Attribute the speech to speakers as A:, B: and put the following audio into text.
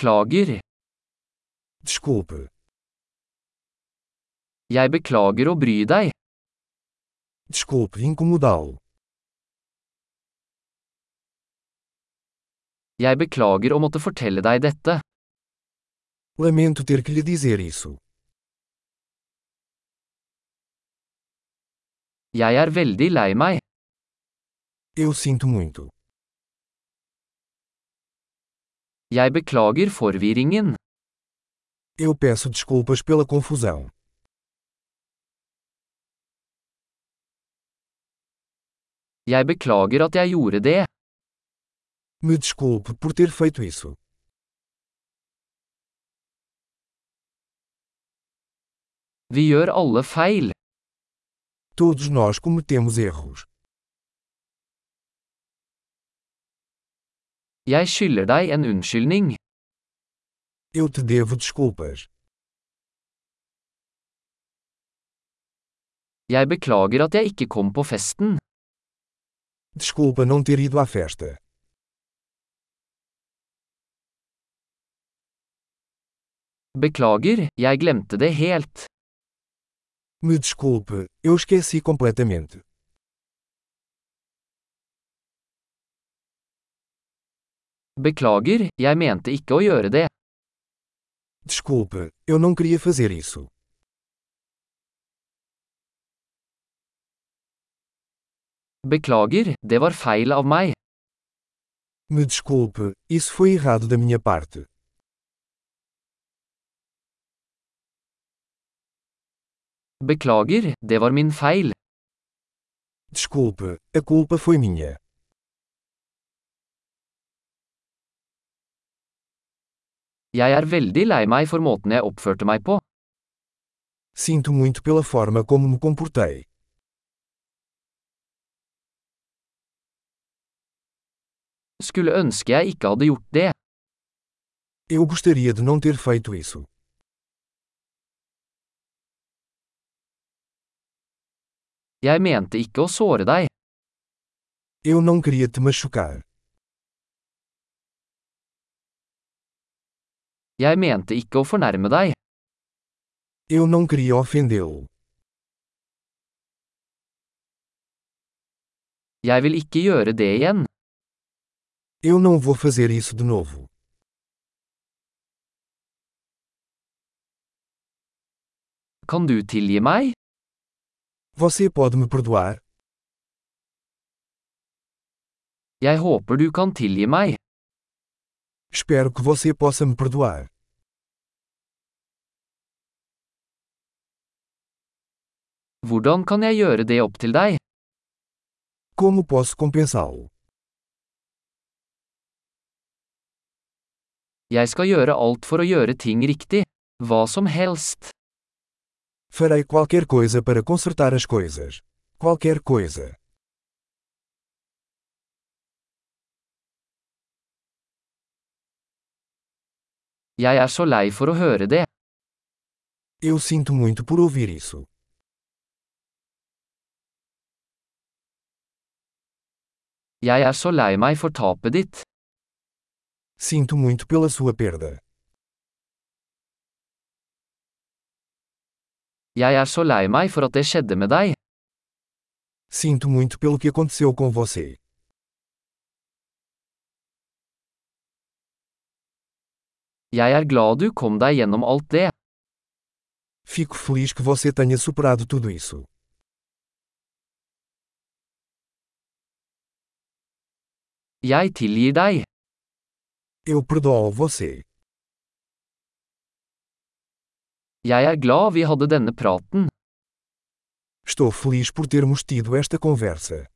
A: Beklager.
B: Desculpe.
A: Jeg beklager å bry deg.
B: Desculpe incomodá-lo.
A: Jeg beklager å måtte fortelle deg dette.
B: Lamento ter que lhe dizer isso.
A: Jeg er veldig lei meg.
B: Eu sinto muito.
A: Jeg beklager forvirringen.
B: Eu peço desculpas pela confusão.
A: Jeg beklager at jeg gjorde det.
B: Me desculpe por ter feito isso.
A: Vi gjør alle feil.
B: Todos nós cometemos erros.
A: Jeg skylder deg en unnskyldning.
B: Eu te devo desculpas.
A: Jeg beklager at jeg ikke kom på festen.
B: Desculpa não ter ido à festa.
A: Beklager, jeg glemte det helt.
B: Me desculpe, eu esqueci completamente.
A: Beklager, jeg mente ikke å gjøre det.
B: Desculpe, eu não queria fazer isso.
A: Beklager, det var feil av meg.
B: Me desculpe, isso foi errado da minha parte.
A: Beklager, det var min feil.
B: Desculpe, a culpa foi minha.
A: Jeg er veldig lei meg for måten jeg oppførte meg på.
B: Sinto muito pela forma como me comportei.
A: Skulle ønske jeg ikke hadde gjort det.
B: Eu gostaria de não ter feito isso.
A: Jeg mente ikke å såre deg.
B: Eu não queria te machucar.
A: Jeg mente ikke å fornærme deg.
B: Eu não queria ofendê-lo.
A: Jeg vil ikke gjøre det igjen.
B: Eu não vou fazer isso de novo.
A: Kan du tilgi meg?
B: Você pode me perdoar?
A: Jeg håper du kan tilgi meg.
B: Espero que você possa me perdoar.
A: Hvordan kan jeg gjøre det opp til deg?
B: Como posso compensá-lo?
A: Jeg skal gjøre alt for å gjøre ting riktig. Hva som helst.
B: Farei qualquer coisa para consertar as coisas. Qualquer coisa.
A: Jeg er så lei for å høre det.
B: Eu sinto muito por ouvir isso.
A: Jeg er så lei meg for tapet ditt.
B: Sinto muito pela sua perda.
A: Jeg er så lei meg for at det skjedde med deg.
B: Sinto muito pelo que aconteceu com você.
A: Jeg er glad du kom deg gjennom alt det.
B: Fico feliz que você tenha superado tudo isso.
A: Jeg tilgir deg.
B: Eu perdoo você.
A: Jeg er glad vi hadde denne praten.
B: Estou feliz por termos tido esta conversa.